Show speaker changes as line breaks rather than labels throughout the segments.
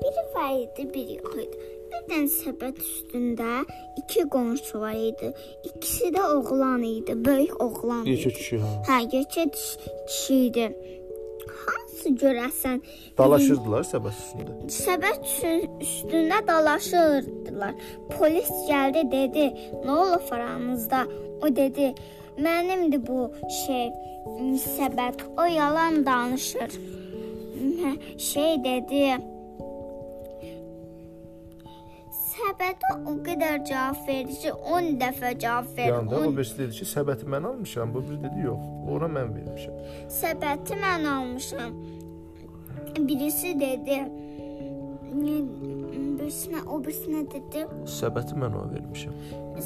əydi, bir yox idi. Bir dənə səbət üstündə iki qonşu var idi. İkisi də oğlan idi, böyük oğlan.
Yekə
idi.
kişi ha.
Hə, yekə diş- kişi idi. Hansı görəsən
Dalaşırdılar səbət üstündə.
səbət üstü- üstündə dalaşırdılar. Polis gəldi, dedi: "Nə olub aranızda?" O dedi: "Mənimdir bu şey, m, səbət. O yalan danışır." M, Şey dedi: Səbətə o qədər cavab verici 10 dəfə cavab verir.
Yanda o
on-
birisi dedi ki, səbəti mən almışam, bu biri dedi yox, ora mən vermişəm.
Səbəti mən almışam. Birisi dedi, "N- birisinə, o birisinə dedi,
Səbəti mən ona vermişəm.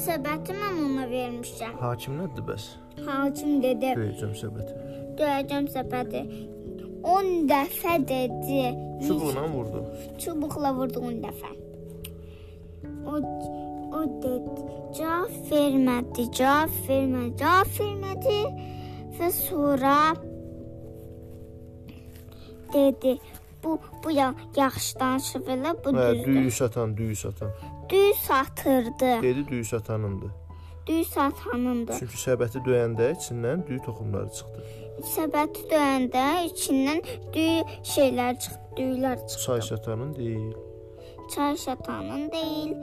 səbəti mən ona vermişəm.
Hakim nədir bəs?
Hakim dedi,
Verəcəm səbəti.
döyəcəm səbəti. 10 dəfə dedi.
Çubuqla vurdu.
Çubuqla vurdu 10 dəfə. O o dedi, cavab vermədi, cavab vermədi, cavab vermədi və sonra dedi, bu bu ya, yaxşı danışır belə, bu
Hə, düyü
düzdür.
satan, düyü satan.
Düz satırdı.
Dedi düyü satanındır.
Düz satanındır.
Çünki səbəti döyəndə içindən düyü toxumları çıxdı.
Səbəti döyəndə içindən düy şeylər çıxdı, düyülər çıxdı.
Çay satanın deyil.
çay şatanın deyil.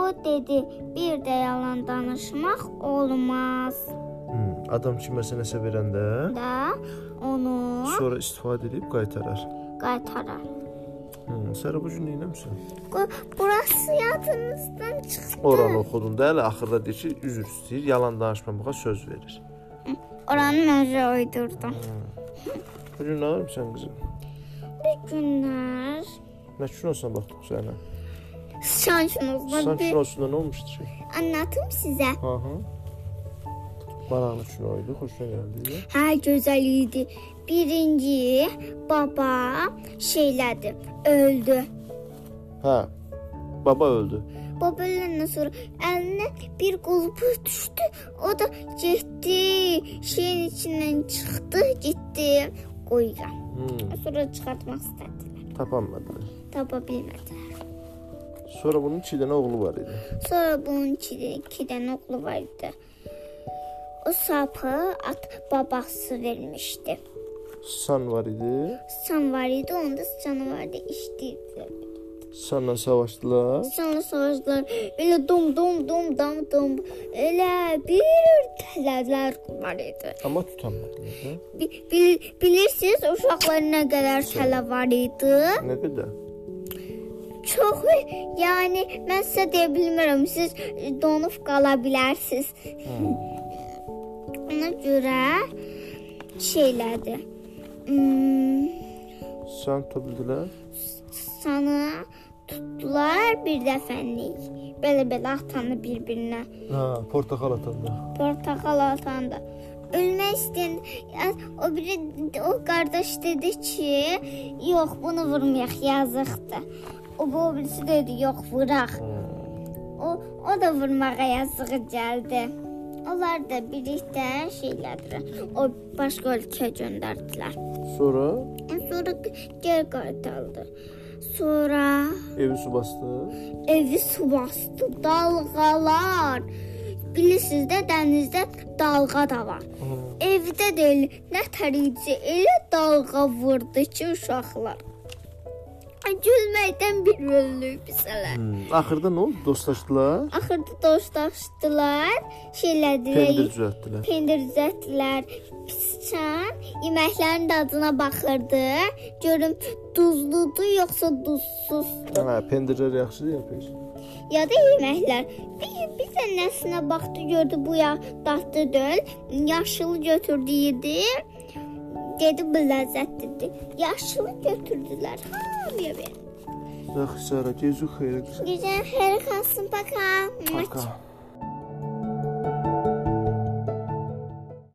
O dedi, bir də yalan danışmaq olmaz
Hmm, adam kiməsə nəsə verəndə
da onu
sonra istifadə edib qaytarar.
qaytarar.
Hmm, sən bu gün nə etmisən?
Bu- Burası yadınızdan çıxdı.
Oranı oxudun da elə axırda deyir ki, üzr istəyir, yalan danışmamağa söz verir.
Oranı mənə uydurdum.
Bu gün nə etmisən qızım?
Bir günlər
Nə kinosan baxdıq sənə?
sıçan şunuzla
Sən
bir
kinosunda nə olmuşdu ki?
anlatım sizə.
Hı hı. Maraqlı kino idi, xoşuna gəldi.
Hər gözəl idi. Birinci baba şeylədi, öldü.
Hə. Baba öldü.
Babalarından sonra əlinə bir qulpu düşdü. O da getdi, şeyin içindən çıxdı, getdi quyuya.
Hmm,
Sonra çıxartmaq istədilər,
tapanmadılar.
tapa bilmədilər.
Sonra bunun 2 dənə oğlu var idi.
Sonra bunun iki, iki dənə oğlu var idi. O sapı at babası vermişdi.
San var idi.
Sıçan var idi, onda sıçanı vardı, işləyirdi.
Sanla savaşdılar.
Sonra savaşdılar, elə dum dum dum dam dum, elə bir tələdlər var idi.
Amma tutanmadılar. hə?
Bi- Bil, bilirsiniz uşaqların nə qədər şələ var idi?
Nə qədər?
Çox, yəni mən sizə deyə bilmirəm, siz e, donub qala bilərsiniz. Ona görə şeylədi. Hmm,
Sən tutdular.
Sana tutdular bir dəfənlik. Belə-belə atanı bir-birinə
Hə, portakal atanda.
portakal atanda. Ölmək istəyən o biri o qardaş dedi ki, yox bunu vurmayaq, yazıqdır. O bu o birisi dedi, yox vuraq.
Hə,
O o da vurmağa yazığı gəldi. Onlar da birlikdə şeylədir. O başqa ölkəyə göndərdilər. E,
Sonra
Sonra geri qaytarıldı. Sonra
evi su bastı.
evi su bastı, dalğalar. Bilirsiniz də dənizdə dalğa da var. Evdə də elə nə tərici, elə dalğa vurdu ki, uşaqlar. Ay, Gülməkdən bir öldük bizələr.
Hmm. Axırda nə oldu? Dostlaşdılar.
Axırda dostlaşdılar,
Pendir
şeylədilər,
düzəltdilər.
pendir düzəltdilər. Pisçan yeməklərin dadına baxırdı. Görüm duzludur yoxsa duzsuzdur.
Hə, pendirlər yaxşı yapır.
Ya da yeməklər. Bir, bir də nəsinə baxdı, gördü bu ya dadlı deyil, yaşılı götürdü yedi. Dedi bu ləzzətlidir. Yaşılı götürdülər. Hamıya ver.
Yaxşı, Sara, gecə xeyir.
Güzel, hər kalsın, paka.
Пока.